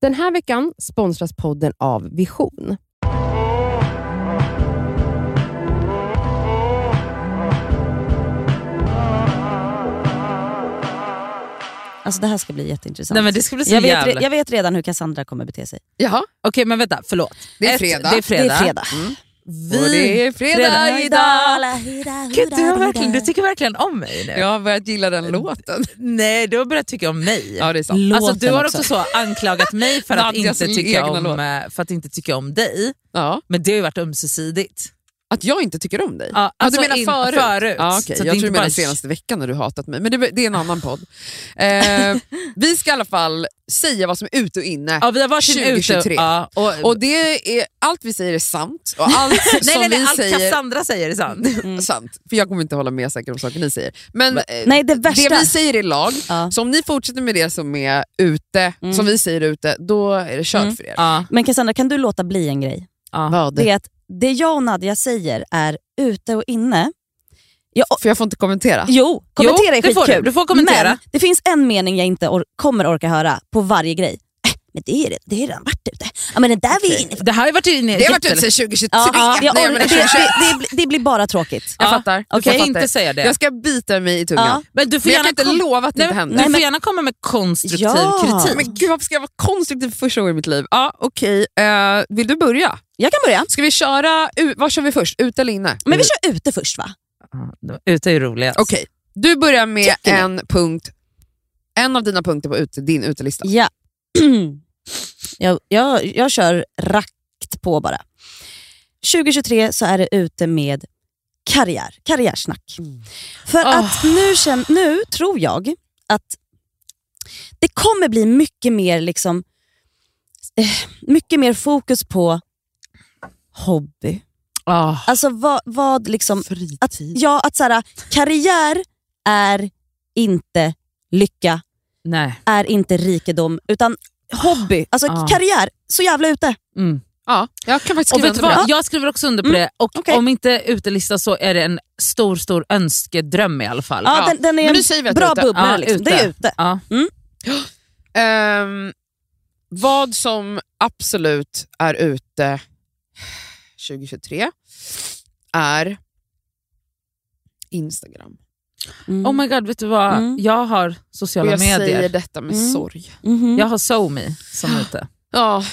Den här veckan sponsras podden av Vision. Alltså det här ska bli jätteintressant. Nej, men det ska bli så jag, vet, jävla- re- jag vet redan hur Cassandra kommer bete sig. Jaha, Okej men vänta, förlåt. Det är Ett, fredag. Mm. Det är fredag. Mm. Det är vi... fredag. Och det är fredag, fredag idag! Gud, du, har verkligen, du tycker verkligen om mig nu. Jag har börjat gilla den låten. Nej, du har börjat tycka om mig. Ja, det är sant. alltså, du Låten har också, också. så anklagat mig för, att Nadjas inte tycka egna om, låt. eh, för att inte tycka om dig, Ja. men det har ju varit ömsesidigt. Att jag inte tycker om dig? Ja, alltså du menar in- förut? förut. Ja, okej. Så det är Jag tror inte du menar bara- senaste veckan när du hatat mig, men det, det är en annan podd. Eh, vi ska i alla fall säga vad som är ute och inne. Ja, vi har varsin 2023. ute. Ja, och, Och det är, allt vi säger är sant och allt som nej, nej, nej, vi allt säger Cassandra säger är sant. är sant. För jag kommer inte hålla med säkert om saker ni säger. Men eh, Nej det värsta. det vi säger är lag, Ja. så om ni fortsätter med det som är ute, Mm. som vi säger ute, då är det kört Mm. för er. Ja, Men Cassandra kan du låta bli en grej? ja. Vad? Det är att det jag och Nadja säger är ute och inne. Jag, För jag får inte kommentera. jo, kommentera är Ah. det får skitkul. du. Du får kommentera. Men det finns en mening jag inte or- kommer orka höra på varje grej. Äh, Men det är det, det är redan varit ute. Ja, men det där vi är inne på. Det här har ju varit inne Det har varit jätte- ute sedan 2023. Ja, ja, jag Nej, or- men det, 2021. det, det, det blir bara tråkigt. Ja, Jag fattar. Du Jag får fattar. inte säga det. Jag ska bita mig i tungan. Ja. Men du får Men jag gärna kan inte kom- lova att det Nej, inte men- händer. Du men- får gärna komma med konstruktiv Ja. kritik. men gud, varför ska jag vara konstruktiv för första gången i mitt liv? Ja, okej. Eh, vill du börja? Jag kan börja. Ska vi köra... u- Vad kör vi först? Ut eller inne? Men Mm. vi kör ute först va? Ja, Ute är ju roligast. Okej, du börjar med Tycker ni? en punkt. En av dina punkter på ute, din utelista. Ja. jag, jag, jag kör rakt på bara. 2023 så är det ute med karriär, karriärsnack. För Ah. att nu, känn, nu tror jag att det kommer bli mycket mer liksom eh, mycket mer fokus på hobby. Ah. Alltså vad, vad liksom... Fritid. Att, ja, att så här, karriär är inte lycka Nej. är inte rikedom, utan hobby. Alltså Ah. karriär, så jävla ute. Mm. Ja, jag kan faktiskt Och skriva vet du under på vad? det. Jag skriver också under på Mm, det. Och okej. Om inte utelista så är det en stor, stor önskedröm i alla fall. Ja, Ja. Mm. Den, den är Men en nu säger vi att det är bra ute. bubblare. Ja, liksom. ute. Det är ute. Ja. Ehm, vad som absolut är ute 2023 är Instagram. Mm. Oh my god, vet du vad? Mm. Jag har Och sociala jag medier. säger detta med Mm. sorg. Mhm. Jag har SoMe som ute. Ja,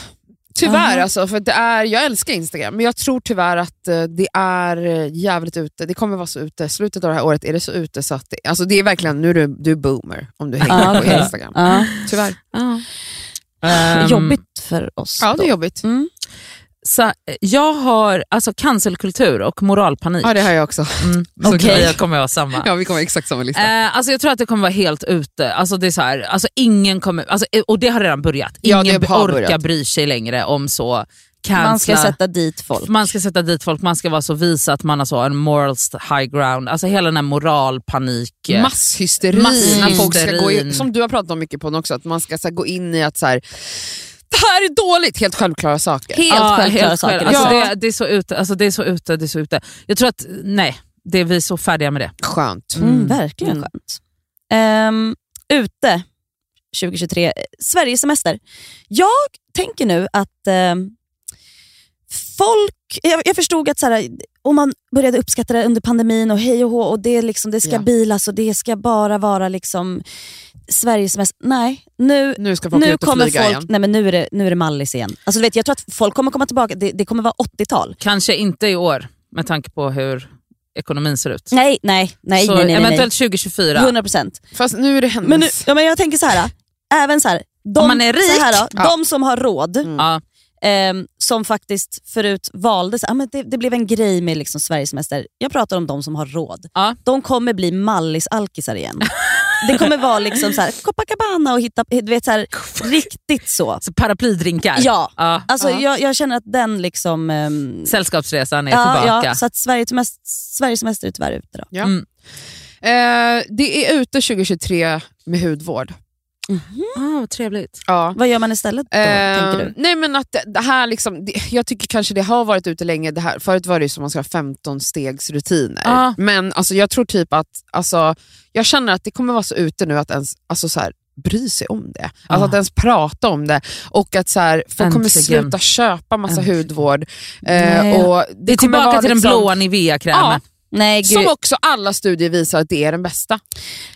tyvärr Aha. alltså. För det är, jag älskar Instagram, men jag tror tyvärr att eh, det är eh, jävligt ute. Det kommer vara så ute. Slutet av det här året är det så ute så att det, alltså det är verkligen, nu är du, du är boomer om du hänger Ja, på okej. Instagram. Ja. Tyvärr. Ehm, Jobbigt för oss Ja, det då. är jobbigt. Mm. Så, eh, jag har alltså, cancelkultur och moralpanik. Ja, det har jag också. Mm. Så Okej. grejer kommer jag ha samma. Ja, vi kommer ha exakt samma lista. Eh, alltså jag tror att det kommer vara helt ute. Alltså det är så här, alltså ingen kommer, alltså, eh, och det har redan börjat. Ja, Ingen det har orkar börjat. bry sig längre om så cancella. Man ska sätta dit folk. man ska sätta dit folk, man ska vara så visa att man har så en moral st- high ground. Alltså hela den här moralpanik... eh, Masshysteri. Masshysterin. När folk ska gå in, som du har pratat om mycket på också, att man ska så här, gå in i att så här, det här är dåligt. Helt självklara saker. Helt Ja, självklara helt saker. själv- Alltså Ja. det, det, är så ute, alltså det är så ute, det är så ute. Jag tror att, nej, det är vi är så färdiga med det. Skönt. Mm, verkligen Mm. skönt. Ehm, ute 2023, eh, Sverigesemester. Jag tänker nu att ehm, folk... Jag, jag förstod att så här, om man började uppskatta det under pandemin och hej och hå och det, är liksom, det ska Ja. bilas och det ska bara vara liksom Sverigesemester. Nej, nu, Nu ska folk nu ut och kommer flyga folk... igen. Nej men nu är det, nu är det mallis igen. Alltså, du vet, jag tror att folk kommer komma tillbaka. Det, det kommer vara 80-tal. Kanske inte i år, med tanke på hur ekonomin ser ut. Nej, nej, nej. så nej, nej, nej, nej. eventuellt 2024. 100 procent. Fast nu är det hennes. Men, nu, ja, men jag tänker så här, även så här, de, Mm. Om man är rik, Mm. så här då, ja. de som har råd, Ja. ehm, som faktiskt förut valde, så, här, ah, men det, det blev en grej med liksom Sverigesemester. Jag pratar om de som har råd. Ja. De kommer bli mallis-alkisar igen. det kommer vara liksom så här, Copacabana och hitta, du vet så här, riktigt så. Så paraplydrinkar. Ja, Ja. alltså Ja. jag, jag känner att den liksom... ehm, Sällskapsresan är ja, tillbaka. ja, så att Sverige, Sverigesemester är tyvärr ute då. Ja. Mm. Eh, det är ute 2023 med hudvård. Ah, vad trevligt. Ja. Vad gör man istället då, Ehm, tänker du? Ehm, nej men att det, det här liksom, det, jag tycker kanske det har varit ute länge. Det här, förut var det ju som man ska ha 15 stegs rutiner. Ja. Men alltså, jag tror typ att, alltså, jag känner att det kommer vara så ute nu att ens, alltså, så här, bry sig om det. Alltså att ens prata om det och att så här, folk kommer Äntligen. sluta köpa massa Äntligen. hudvård. Nej. Eh, och Det kommer är tillbaka vara till liksom- den blåa Nivea-krämen. Ja, Nej, gud. som också alla studier visar att det är den bästa.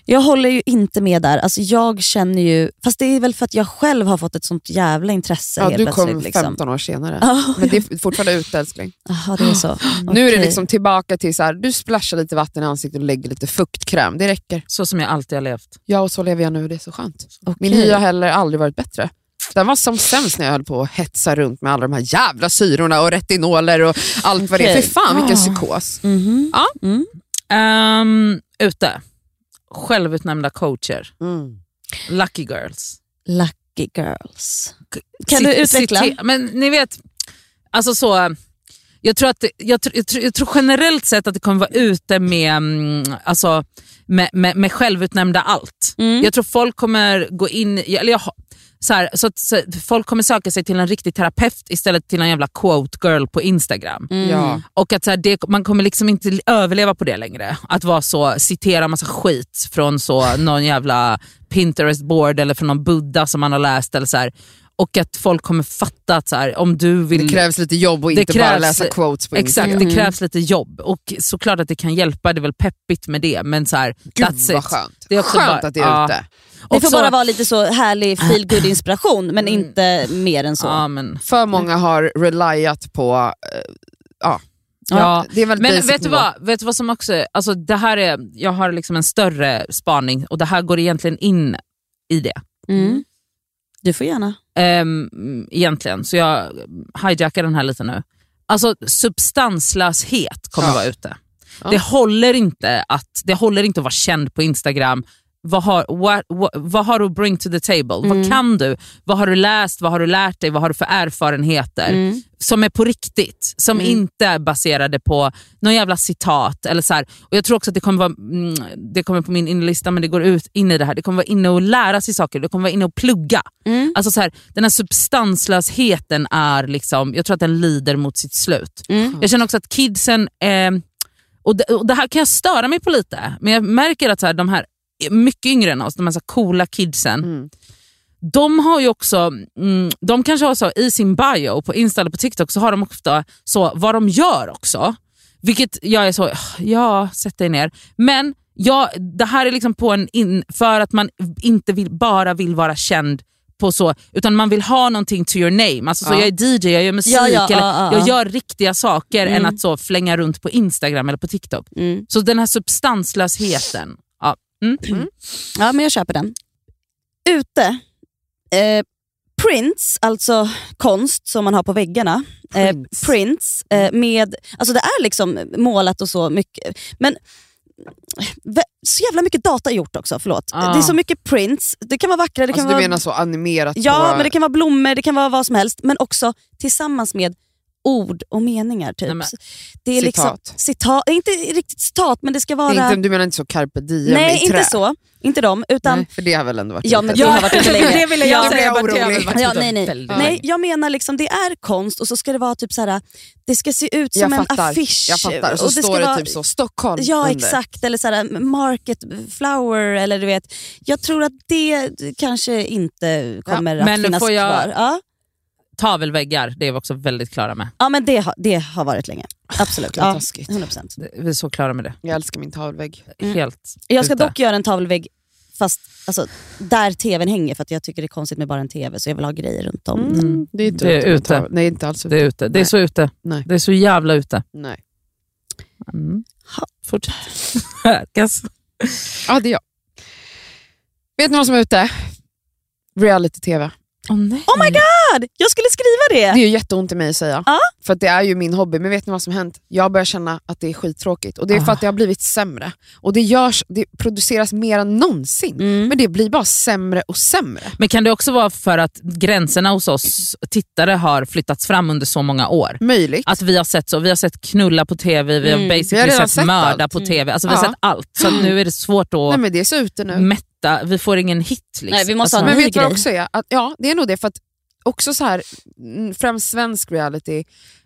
Jag håller ju inte med där. Alltså, jag känner ju, fast det är väl för att jag själv har fått ett sånt jävla intresse Ja, helt du plötsligt. kom liksom. 15 år senare. Ja, Men det är fortfarande ute älskling. Jaha, det är så. Nu är det Okej. liksom tillbaka till så här, du splashar lite vatten i ansiktet och lägger lite fuktkräm. Det räcker. Så som jag alltid har levt. Ja, och så lever jag nu. Det är så skönt. Okej. Min hy har heller aldrig varit bättre. Den var som sämst när jag höll på att hetsa runt med alla de här jävla syrorna och retinoler och allt vad det är. Okej. Fy fan vilken Ah. psykos. Mhm. Ja. Mm. Ehm, ute. Självutnämnda coacher. Lucky girls. Lucky girls. Kan du Cit- utveckla? cite- Men ni vet, alltså så... Jag tror, att, det- jag, tr- jag, tror, jag tror generellt sett att det kommer vara ute med, mm, alltså, med, med, med självutnämnda allt. Mm. Jag tror folk kommer gå in, i- eller jag, har- så här, så, att- så, folk kommer söka sig till en riktig terapeut istället till en jävla quote girl på Instagram. Mm. Ja. Och att så här, det, man kommer liksom inte överleva på det längre. Att vara så, citera massa skit från så, någon jävla Pinterest board eller från någon Buddha som man har läst. Eller så här. Och att folk kommer fatta att så här, om du vill... Det krävs lite jobb och Mm. Det inte bara krävs- läsa quotes på Exakt, Instagram. det krävs lite jobb. Och såklart att det kan hjälpa, det är väl peppigt med det. Men så här, Gud that's Mm, vad it. skönt. Det är också skönt bara- att det är ja. ute. Det får Också- bara vara lite så härlig feel good inspiration men inte mer än så. Ja, men, För många har reliat på, eh, ja. Ja. det är väldigt men basic vet du nivå. vad? Vet du vad som också, alltså det här är, jag har liksom en större spaning och det här går egentligen in i det. Mm. Du får gärna. Ehm, egentligen, så jag hijackar den här lite nu. Alltså substanslöshet kommer Ja. vara ute. Ja. Det, håller inte att, det håller inte att vara känd på Instagram. Vad har, what, what, vad har du att bring to the table? Vad kan du? Vad har du läst? Vad har du lärt dig? Vad har du för erfarenheter? Som är på riktigt. Som inte är baserade på någon jävla citat. Eller så här. Och Jag tror också att det kommer vara, mm, det kommer på min inlista men det går ut in i det här. Det kommer vara inne och lära sig saker. Det kommer vara inne och plugga. Alltså så här, den här substanslösheten är liksom, jag tror att den lider mot sitt slut. Jag känner också att kidsen, eh, och, det, och det här kan jag störa mig på lite, men jag märker att så här, de här mycket yngre än oss, de här, så här coola kidsen, Mm. de har ju också, mm, de kanske har så i sin bio på Insta eller på TikTok så har de ofta så vad de gör också. Vilket jag är så, ja sätt dig ner. Men ja, det här är liksom på en in, för att man inte vill, bara vill vara känd på så, utan man vill ha någonting to your name. Alltså så Ja. jag är DJ, jag gör musik, Ja, ja, eller ja, ja. jag gör riktiga saker än att så flänga runt på Instagram eller på TikTok. Mm. Så den här substanslösheten. Ja. Mm. Ja, men jag köper den. Ute. Eh, prints, alltså konst som man har på väggarna. Eh, Prints. prints eh, med, alltså det är liksom målat och så mycket. Men vä- så jävla mycket data gjort också, förlåt. Ah. Det är så mycket prints. Det kan vara vackra, det kan Alltså, du vara... menar så animerat ja, på... men det kan vara blommor, det kan vara vad som helst. Men också tillsammans med ord och meningar. Typ. Nej, men- det är liksom, Citat. citat. Inte riktigt citat, men det ska vara... inte, du menar inte så carpe diem i Nej, trä? inte så. Inte dem. Utan Nej, för det har väl ändå varit Ja, lite- men det har varit ute länge. det ville jag Ja. säga. Nu blir jag orolig. Martina, men Martina, Ja, nej, nej. väldigt Nej, länge. jag menar liksom det är konst och så ska det vara typ så här. det ska se ut jag som en fattar, affisch. Jag fattar. Och så ska står det vara- typ så, Stockholm Ja under. exakt, eller så här, market flower eller du vet. Jag tror att det kanske inte kommer att men finnas får jag- kvar. Ja. Tavelväggar, det är vi också väldigt klara med. ja men det har, det har varit länge. Absolut. Vad Ja, taskigt. 100%. Vi är så klara med det. Jag älskar min tavelvägg. Mm. Helt Jag ska ute. dock göra en tavelvägg fast alltså, där tvn hänger för att jag tycker det är konstigt med bara en tv så jag vill ha grejer runt om. Mm. Det är inte Det är ute med ute. tavel- Nej, inte alls ute. Det är ute. Det är Mm. Nej. så ute. Nej. Det är så jävla ute. Nej. Mm. Ha. Fortsätt. Yes. Ja, det är jag. Vet ni vad som är ute? Reality-tv. Oh, nej. Oh my god! Jag skulle skriva Det det! gör jätteont i mig att säga, Ja. för att det är ju min hobby. Men vet ni vad som hänt? Jag börjar känna att det är skittråkigt. Och det är för Ah. att det har blivit sämre. Och det, görs, det produceras mer än någonsin. Mm. Men det blir bara sämre och sämre. Men kan det också vara för att gränserna hos oss tittare har flyttats fram under så många år? Möjligt. Att vi har sett så, vi har sett knulla på tv, vi har Mm. Vi har basically redan sett, sett mörda allt. på tv, alltså vi har Ja. sett allt. Så att nu är det svårt att Nej, men det är så ute nu. mätta, vi får ingen hit. Liksom. Nej, vi måste alltså, ha en Men ny vet du vad grej. också är? Att, ja, det är nog det. För att också så här, mm, främst svensk reality,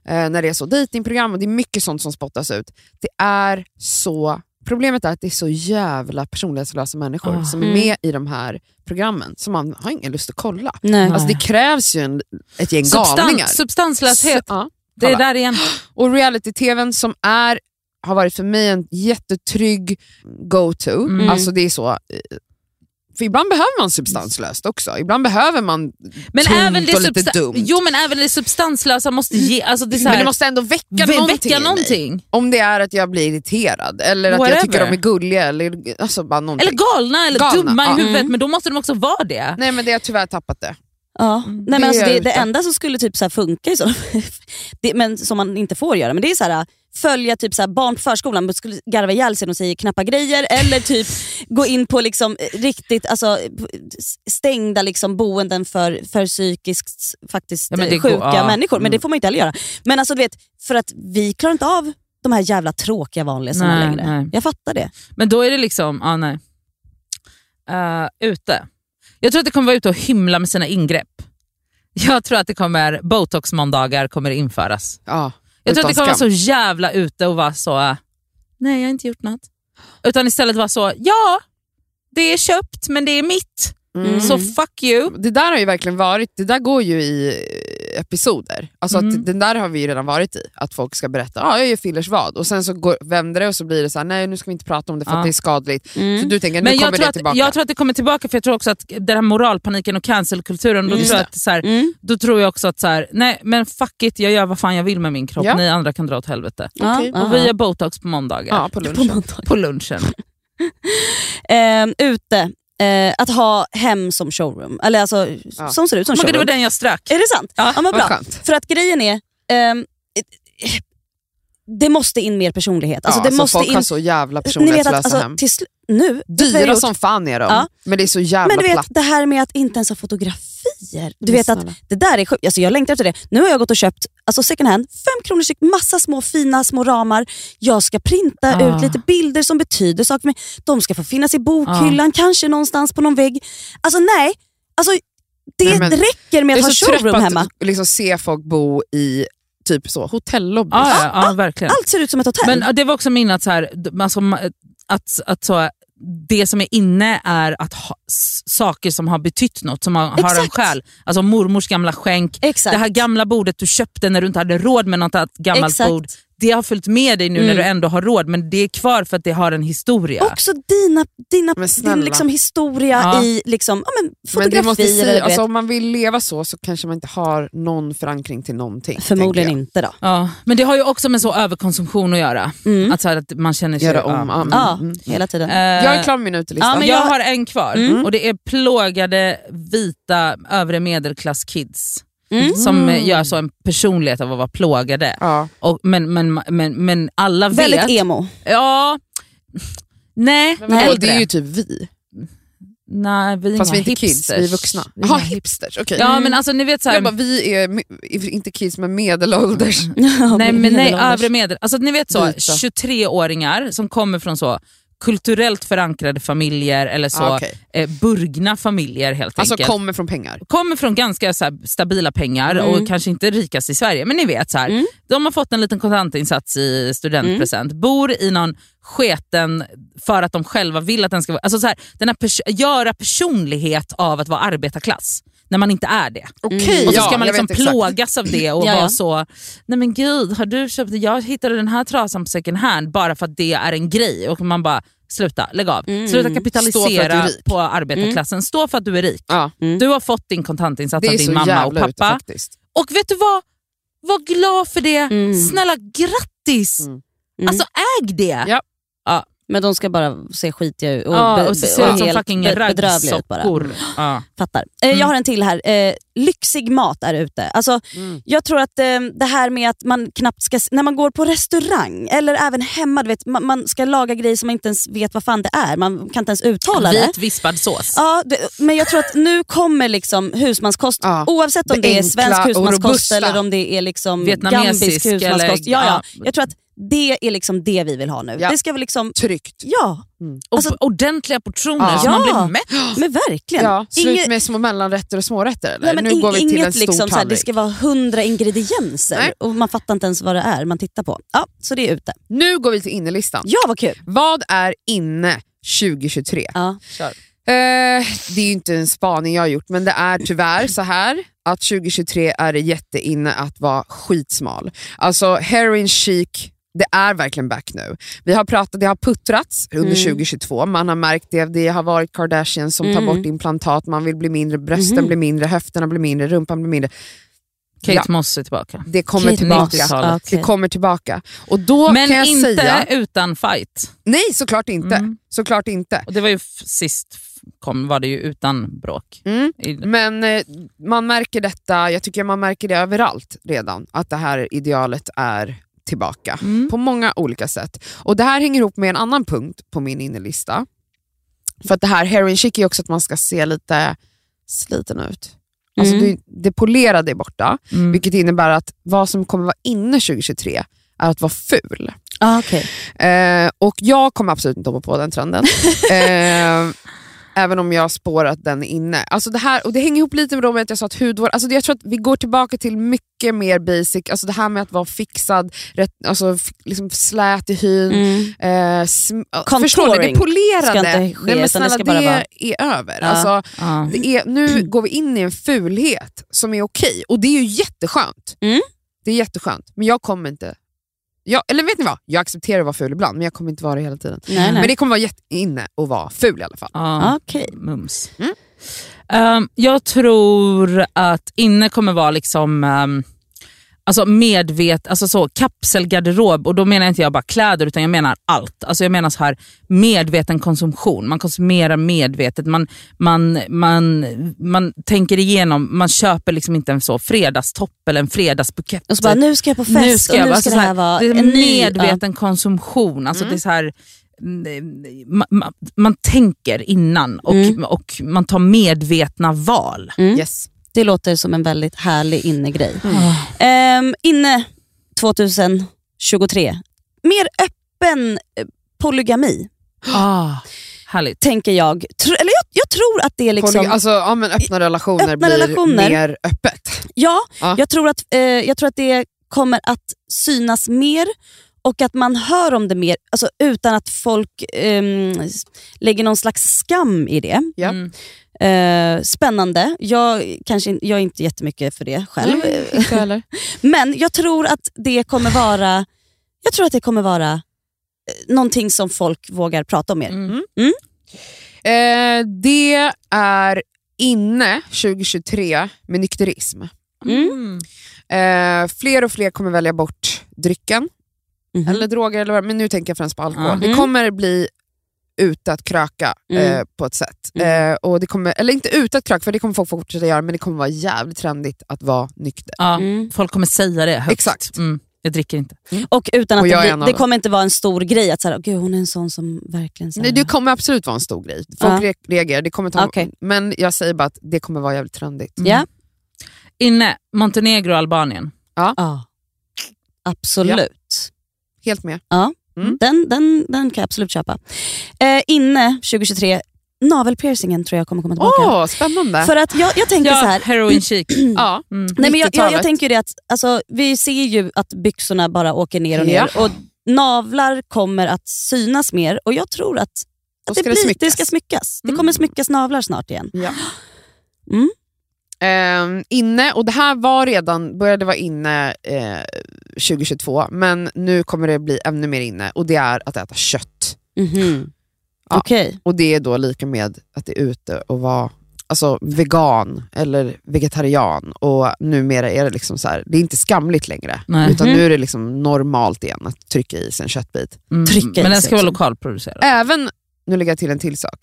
eh, när det är så datingprogram och det är mycket sånt som spottas ut. Det är så Problemet är att det är så jävla personlighetslösa människor Ah. som är Mm. med i de här programmen som man har ingen lust att kolla. Nej. Alltså, det krävs ju en, ett gäng galningar. Substans, substanslöshet, Så- ja. det är kolla. där igen. Och reality-tvn som är, har varit för mig en jättetrygg go-to. Mm. Alltså det är så... eh, För ibland behöver man Mm. substanslöst också. Ibland behöver man Men tungt även, det och lite substan- dumt. Mm. jo, men även det substanslösa måste ge... Alltså det är så men här, det måste ändå väcka vä- någonting, väcka i mig. någonting. Om det är att jag blir irriterad eller att jag Whatever. tycker de är gulliga. Eller, alltså bara någonting. Eller galna eller Galna, dumma i ja. huvudet, Mm. men då måste de också vara det. Nej men det har jag tyvärr tappat det. Ja. Mm. Nej, men det alltså, är jag det, ute. det enda som skulle typ så här funka, i så, det, men som man inte får göra, men det är så här, följa typ så här barn på förskolan, man skulle garva ihjäl sig och säger knappa grejer eller typ gå in på liksom eh, riktigt alltså, eh, stängda liksom boenden för, för psykiskt faktiskt Ja, men eh, det går- sjuka ja. människor. Men Mm. det får man inte heller göra. Men alltså, du vet, för att vi klarar inte av de här jävla tråkiga vanlisarna Nej, längre. nej. Jag fattar det. Men då är det liksom, ah, nej. Eh, ute. Jag tror att det kommer vara ute och hymla med sina ingrepp. Jag tror att det kommer, botox-måndagar kommer införas. Ja, Jag utan tror att det kommer skam. vara så jävla ute och vara så, eh, nej jag har inte gjort något. Utan istället vara så, ja det är köpt men det är mitt, Mm. så fuck you. Det där har ju verkligen varit, det där går ju i eh, episoder. Alltså Mm. att den där har vi ju redan varit i, att folk ska berätta ah, jag gör fillers vad och sen så går, vänder det och så blir det så här: nej nu ska vi inte prata om det för Ja. att det är skadligt. Mm. Så du tänker, nu Men jag kommer tror, det att, tillbaka. jag tror att det kommer tillbaka för jag tror också att den här moralpaniken och cancelkulturen, då, Just tror jag det. att, så här, Mm. då tror jag också att så här, nej men fuck it, jag gör vad fan jag vill med min kropp, Ja. ni andra kan dra åt helvete. Okej. Ja, Och vi ja. gör botox på måndagar. Ja, på På lunchen. måndag. På lunchen. eh, ute. Eh, att ha hem som showroom. Eller alltså, Ja. som ser ut som Men Oh det var showroom. den jag strök. Är det sant? Ja. men Vad bra. skönt. För att grejen är, ehm, eh, det måste in mer personlighet. Alltså, ja, det alltså måste folk in... har så jävla Ni vet personlighetslösa att alltså, hem. till sl- nu, vet du vad jag Dyra gjort? som fan är de, Ja. men det är så jävla Men du platt. vet det här med att inte ens ha fotografier. Du Men vet att snälla. det där är sjukt. Alltså, jag längtar efter det. Nu har jag gått och köpt alltså second hand, fem kronor styck, massa små fina små ramar. Jag ska printa Ah. ut lite bilder som betyder saker för mig. De ska få finnas i Ah. bokhyllan, kanske någonstans på någon vägg. Alltså nej, alltså, det Nej, men räcker med Jag att ha är så trött showroom på att hemma. liksom, se folk bo i typ så, hotellobby. Ja, ja, ja, verkligen. Allt ser ut som ett hotell. Men ja, det var också min att, så här, d- alltså, ma- att, att så, det som är inne är att ha, s- saker som har betytt något, som har, har en Exakt. själ. Alltså mormors gamla skänk, Exakt. det här gamla bordet du köpte när du inte hade råd med något annat gammalt Exakt. bord. Det har följt med dig nu Mm. när du ändå har råd, men det är kvar för att det har en historia. Också dina, dina, Men din snälla. liksom historia Ja. i liksom, ja, men Men det fotografier. måste eller du säga, vet. alltså, om man vill leva så så kanske man inte har någon förankring till någonting. Förmodligen tänker inte då. Ja, men det har ju också med så överkonsumtion att göra. Mm. Att, så här, att man känner sig... jag. Göra om. ja. Ja. Ja, Mm. mm. hela tiden. Eh, Jag är klar med min utelista. Ja, men jag, jag- har en kvar Mm. och det är plågade vita övre medelklasskids Mm. som eh, gör så en personlighet av att vara plågade. Ja. Och, men, men, men, men alla vet... Väldigt emo. Ja, nej, Men vadå, äldre. det e- är ju typ vi, nej, vi är fast vi inga är inte hipsters. kids, vi är vuxna. Vi är Jaha, inga hip- hipsters, okej. Ja men alltså ni vet så här, Jag bara, vi är mi- inte kids men medelålders. nej, men, nej Medelålders. övre medel, alltså ni vet så Vita. 23-åringar som kommer från så kulturellt förankrade familjer eller så Ah, okej. eh, burgna familjer helt Alltså enkelt. kommer från pengar. kommer från ganska så här, stabila pengar Mm. och kanske inte rikast i Sverige, men ni vet så här. Mm. De har fått en liten kontantinsats i studentpresent, Mm. bor i någon sketen för att de själva vill att den ska vara... Alltså så här, den här pers- göra personlighet av att vara arbetarklass när man inte är det. Okej, Och så ja, ska man jag liksom vet exakt. plågas av det och Ja, ja. vara så, nej men gud, har du köpt, jag hittade den här trasan på second hand bara för att det är en grej. Och man bara, sluta, lägg av. Mm. Sluta Stå för att du kapitalisera är rik. Mm. på arbetarklassen. Stå för att du är rik. Ja, Mm. Du har fått din kontantinsats det av är så din mamma och jävla ute pappa. faktiskt. Och vet du vad? Var glad för det. Mm. Snälla grattis! Mm. Mm. Alltså äg det! Ja. Men de ska bara se skitiga ut och, Ja, be- och så be- ser och ut som helt fucking be- bedrövliga ut bara. raggsockor. Ja. Fattar. Eh, Mm. Jag har en till här. Eh, lyxig mat är ute. Alltså, Mm. jag tror att eh, det här med att man knappt ska... s- När man går på restaurang eller även hemma, du vet, man, man ska laga grejer som man inte ens vet vad fan det är. Man kan inte ens uttala det. Vit vispad sås. Ja, det, men jag tror att nu kommer liksom husmanskost, Ja. oavsett om Det det är enkla svensk och husmanskost robusta. eller om det är liksom gambisk Vietnamesisk husmanskost. eller- ja, ja. ja. Jag tror att Det är liksom det vi vill ha nu. Ja. Det ska vi liksom, Tryggt. ja Och Alltså- ordentliga portioner Ja. så man blir Ja. mätt. men verkligen. Ja, slut Inge- med små mellanrätter och smårätter eller? Nej, men nu ing- går vi till en inget stor liksom, så här, det tallrik. ska vara hundra ingredienser Nej. och man fattar inte ens vad det är man tittar på. Ja, Så det är ute. Nu går vi till innelistan. Ja, vad kul. Vad är inne 2023? Ja. Eh, det är ju inte en spaning jag har gjort, men det är tyvärr så här att 2023 är det jätteinne att vara skitsmal. Alltså heroin chic, det är verkligen back nu. Vi har pratat, det har puttrats under Mm. 2022, man har märkt det. Det har varit Kardashian som tar Mm. bort implantat, man vill bli mindre, brösten Mhm. blir mindre, höfterna blir mindre, rumpan blir mindre. Kate Ja. Moss är tillbaka. Det kommer Kate tillbaka. Moss, ja, okej. Det kommer tillbaka. Och då Men kan jag inte säga, utan fight. nej såklart inte. Mm. Såklart inte. Och det var ju f- sist f- kom var det ju utan bråk. Mm. I- Men eh, man märker detta, jag tycker man märker det överallt redan, att det här idealet är tillbaka. Mm. På många olika sätt. Och det här hänger ihop med en annan punkt på min innelista. För att det här heroin chic är också att man ska se lite sliten ut. Alltså Mm. du, det polerade är borta, Mm. vilket innebär att vad som kommer vara inne 2023 är att vara ful. Ah, okej. Eh, och jag kommer absolut inte hoppa på den trenden. eh, även om jag spår att den är inne. Alltså det, här, och det hänger ihop lite med det att jag sa att hudvård, alltså det, jag tror att vi går tillbaka till mycket mer basic, alltså det här med att vara fixad, rätt, alltså, f- liksom slät i hyn, Mm. eh, sm- Contouring förstår ni? Det polerade, ska inte ske, Nej, men utan det snälla ska det, bara vara- är över. Ja. Alltså, Ja. det är, nu Mm. går vi in i en fulhet som är okej och det är ju jätteskönt. Mm. Det är jätteskönt, men jag kommer inte... Jag, eller vet ni vad? Jag accepterar att vara ful ibland, men jag kommer inte vara det hela tiden. Nej, nej. Men det kommer vara jätte- inne att vara ful i alla fall. Ja. Ah, okej. Mums. Mm. Ehm, jag tror att inne kommer vara liksom ehm, alltså medvet, alltså så, kapselgarderob och då menar inte jag bara kläder utan jag menar allt. Alltså jag menar så här medveten konsumtion, man konsumerar medvetet, man, man, man, man tänker igenom, man köper liksom inte en så fredagstopp eller en fredagsbukett. Och så bara, nu ska jag på fest Nu ska, jag, och nu alltså ska så det här vara det är en ny... ja. Mm. medveten konsumtion. Alltså det är så här, man, man, man tänker innan och, Mm. och man tar medvetna val. Mm. Yes. Det låter som en väldigt härlig innegrej. Mm. Ehm, inne 2023, mer öppen eh, polygami Ah, härligt. tänker jag. Tr- eller jag, jag tror att det är liksom... Poly- alltså, ja, men öppna relationer öppna blir relationer. mer öppet. Ja, Ja. Jag, tror att, eh, jag tror att det kommer att synas mer och att man hör om det mer alltså, utan att folk ehm, s- lägger någon slags skam i det. Ja. Mm. Eh, spännande. Jag, kanske, in- jag är inte jättemycket för det själv. inte heller. Men jag tror att det kommer vara Jag tror att det kommer vara eh, någonting som folk vågar prata om mer. Mm. Eh, det är inne 2023 med nykterism. Mm. Mm. Eh, fler och fler kommer välja bort drycken. Mhm. eller droger, eller vad, men nu tänker jag främst på alkohol. Ja. Det Mm. kommer bli ut att kröka Mm. eh, på ett sätt. Mm. Eh, och det kommer, eller inte ut att kröka, för det kommer folk fortsätta göra, men det kommer vara jävligt trendigt att vara nykter. Ja, Mm. Folk kommer säga det högt. Exakt. Mm. Jag dricker inte. Och utan Och att jag är det, en blir, av det dem. kommer inte vara en stor grej att så här, Gud, hon är en sån som verkligen... Så här, Nej, det kommer absolut vara en stor grej. Folk Mm. Ja. re- reagerar, det kommer ta, Okej. men jag säger bara att det kommer vara jävligt trendigt. Ja. Inne, Montenegro och Albanien. Ja. Absolut. Helt med. Mm. Den, den, den kan jag absolut köpa. Eh, inne 2023, navelpiercingen tror jag kommer komma tillbaka. Åh, spännande! För att jag, jag tänker så Ja, här. heroin chic. ja. Mm. Nej, men jag, jag, jag 90-talet. tänker ju det att alltså, vi ser ju att byxorna bara åker ner och ner Ja. och navlar kommer att synas mer och jag tror att, Då att ska det smyckas. ska smyckas. Det Mm. kommer smyckas navlar snart igen. Ja. Mm. Ehm, inne, och det här var redan, började vara inne eh, 2022, men nu kommer det bli ännu mer inne och det är att äta kött. Mhm. Mm-hmm. Ja. Okej. Och det är då lika med att det är ute och vara alltså, vegan eller vegetarian. Och numera är det liksom så här, det är inte skamligt längre. Nej. Utan Mhm. nu är det liksom normalt igen att trycka i sig en köttbit. Mm. Trycka i sig Men den ska vara liksom. lokalproducerad. Även, nu lägger jag till en till sak,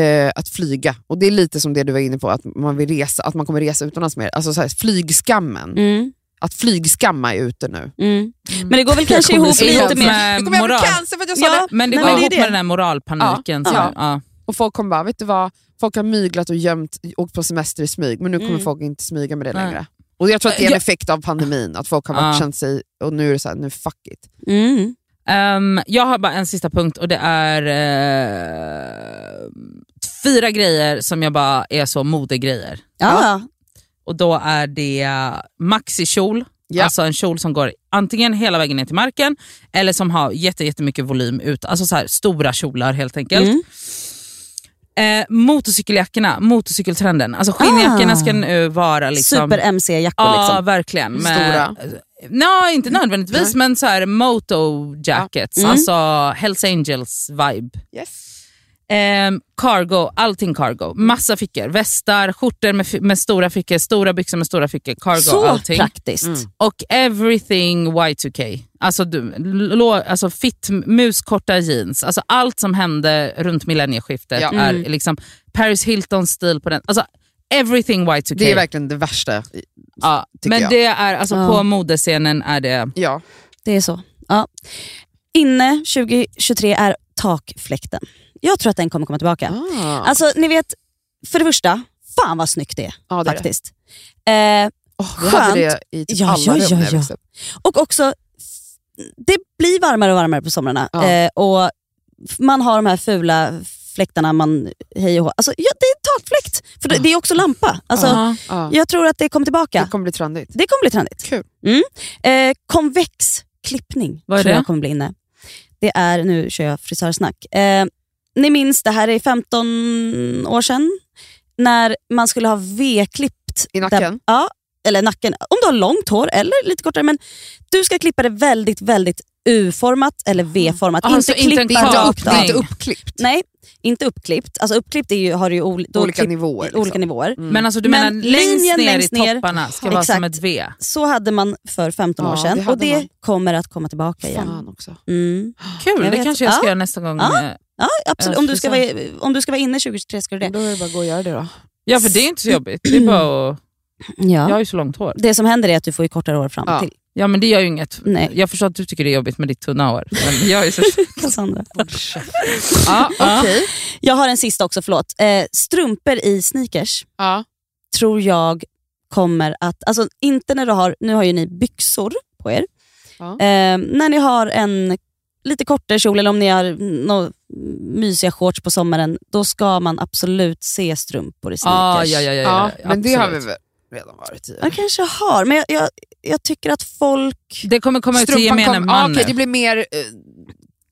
eh, att flyga. Och det är lite som det du var inne på, att man, vill resa, att man kommer resa utomlands mer. Alltså så här, flygskammen. Mm, Att flygskamma är ute nu. mm. Men det går väl Jag kanske kommer ihop ihåg lite med- med... Nu kommer jag moral. bli cancer för att jag sa Ja. det. Men det Nej, går men det är ihop det. med den här moralpaniken. Ja, så- ja. ja. Och folk kommer bara, vet du vad? Folk har myglat och gömt, åkt på semester i smyg, men nu kommer Mm. folk inte smyga med det Nej. längre. Och jag tror att det är en Ja. effekt av pandemin, att folk har Ja. varit känt sig, och nu är det såhär, nu fuck it. Mm. Ehm, jag har bara en sista punkt och det är eh, fyra grejer som jag bara är så modegrejer. Ja. Och då är det maxikjol, Ja. alltså en kjol som går antingen hela vägen ner till marken eller som har jätte, jättemycket volym ut. Alltså så här, stora kjolar helt enkelt. Mm. Eh, motorcykeljackorna, motorcykeltrenden. Alltså skinnjackorna Ah. ska nu vara liksom... Super-MC-jackor Ja, liksom. verkligen. Stora. Med, Nej, inte nödvändigtvis, Nej. men så här moto jackets, Mm. alltså Hells Angels vibe. Yes. Ehm, cargo, allting cargo. Massa fickor. Västar, skjortor med, fi- med stora fickor, stora byxor med stora fickor. Cargo, Så allting. praktiskt. Mm. Och everything Y2K. Alltså, du, lå, alltså fit, muskorta jeans. Alltså allt som hände runt millennieskiftet Ja. är Mm. liksom Paris Hiltons stil på den. Alltså everything Y2K. Det är verkligen det värsta. ja, tycker men jag. det är alltså Ja. på modescenen är det... Ja. Det är så. Ja. Inne 2023 är takfläkten. Jag tror att den kommer komma tillbaka. Ah. Alltså ni vet, för det första, fan vad snyggt det är ja, det är det. faktiskt. Eh, Oh, vi hade det i typ Ja, alla ja, rum ja, när jag ja. växte upp. och också, det blir varmare och varmare på somrarna. Ja. Eh, och man har de här fula fläktarna man hej och hå. Alltså, ja, det är takfläkt, för det, det är också lampa. Alltså, Ja. Ja. Jag tror att det kommer tillbaka. Det kommer bli trendigt. Det kommer bli trendigt. Kul. Mm. Eh, konvex klippning Vad är tror det? jag kommer bli inne. Det är, nu kör jag frisörsnack. Eh, ni minns, det här är 15 år sedan, när man skulle ha V-klippt. I nacken? ja, eller nacken. Om du har långt hår eller lite kortare. Men du ska klippa det väldigt, väldigt U-format eller V-format. Aha, så inte inte en klippa kap- upp Det är inte det. Mm. Nej. uppklippt. Nej, inte uppklippt. Alltså uppklippt är ju, har du ju ol- då olika klipp- nivåer. Liksom. olika nivåer. Mm. Men alltså du Men menar längst linjen ner längst i ner. topparna ska Ja, vara exakt. som ett V. Så hade man för 15 år Ja, sedan det och hade det man. kommer att komma tillbaka igen. Fan också. Mm. Kul, Jag det vet. kanske jag ska Ja. göra nästa gång. Ja. eh, Ja, absolut. Ja, Om du, ska vara, precis. om du ska vara inne 2023 ska du det. Då är det bara att gå och göra det då. Ja för det är inte så jobbigt. Det är bara att, jag Ja. har ju så långt hår. Det som händer är att du får ju kortare år fram Mm. Ja. till Ja men det gör ju inget. Nej. Jag förstår att du tycker det är jobbigt med ditt tunna hår. Men jag är så... Cassandra. ja, ja. Okej. Jag har en sista också, förlåt. Eh, strumpor i sneakers Ja. tror jag kommer att... Alltså inte när du har... Nu har ju ni byxor på er. Ja. Eh, när ni har en lite kortare kjol eller om ni har några mysiga shorts på sommaren, då ska man absolut se strumpor i sneakers. Ah, ja, ja, ja, Ja, ja, Eh, men det har vi absolut. väl redan varit i. Man kanske har, men jag, jag, jag tycker att folk... Det kommer komma ut till gemene kom- man ja, okej, nu. det blir mer eh,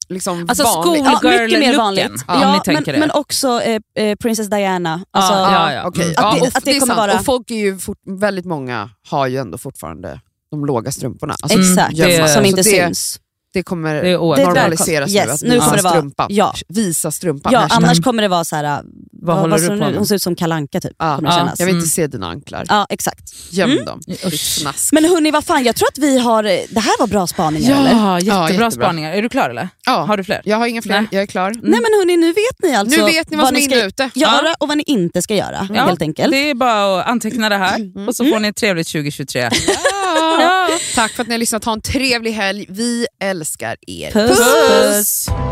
liksom Alltså vanligt. school- Girl mycket mer looken, vanligt. om ni men, tänker det. men också eh, eh, Princess Diana. Ja, Alltså, ja. Ja, okej. Mm. ja, Att det- och att det är kommer sant. vara- Och folk är ju fort, väldigt många har ju ändå fortfarande de låga strumporna. Alltså, Mm, Exakt, det- som inte så det- syns. Det kommer Det är oerhört. Det är välkommen. normaliseras Yes, nu, att nu visa får det vara- strumpan. ja. Visa strumpan. Ja, Hashtag. annars kommer det vara så här, Mm. Vad håller ser du hon på ut- Hon med? ser ut som kalanka typ. Ja, kommer det ja. kännas. Ah, Jag vill inte Mm. se dina anklar. Ja, exakt. Göm dem. Usch. Snask. Men hörni, vad fan, jag tror att vi har... eh, Det här var bra spaningar eller? Ja, Mm. jättebra, jättebra. spaningar. Är du klar eller? Ja. Har du fler? Jag har inga fler, Nej. jag är klar. Nej men hörni, nu vet ni alltså nu vet ni vad som är ska inne och ute. göra och vad ni inte ska göra Ja, helt enkelt. Mm. Det är bara att anteckna det här och så får ni ett trevligt 2023. Ja. Tack för att ni har lyssnat. Ha en trevlig helg. Vi älskar er. Puss. Puss!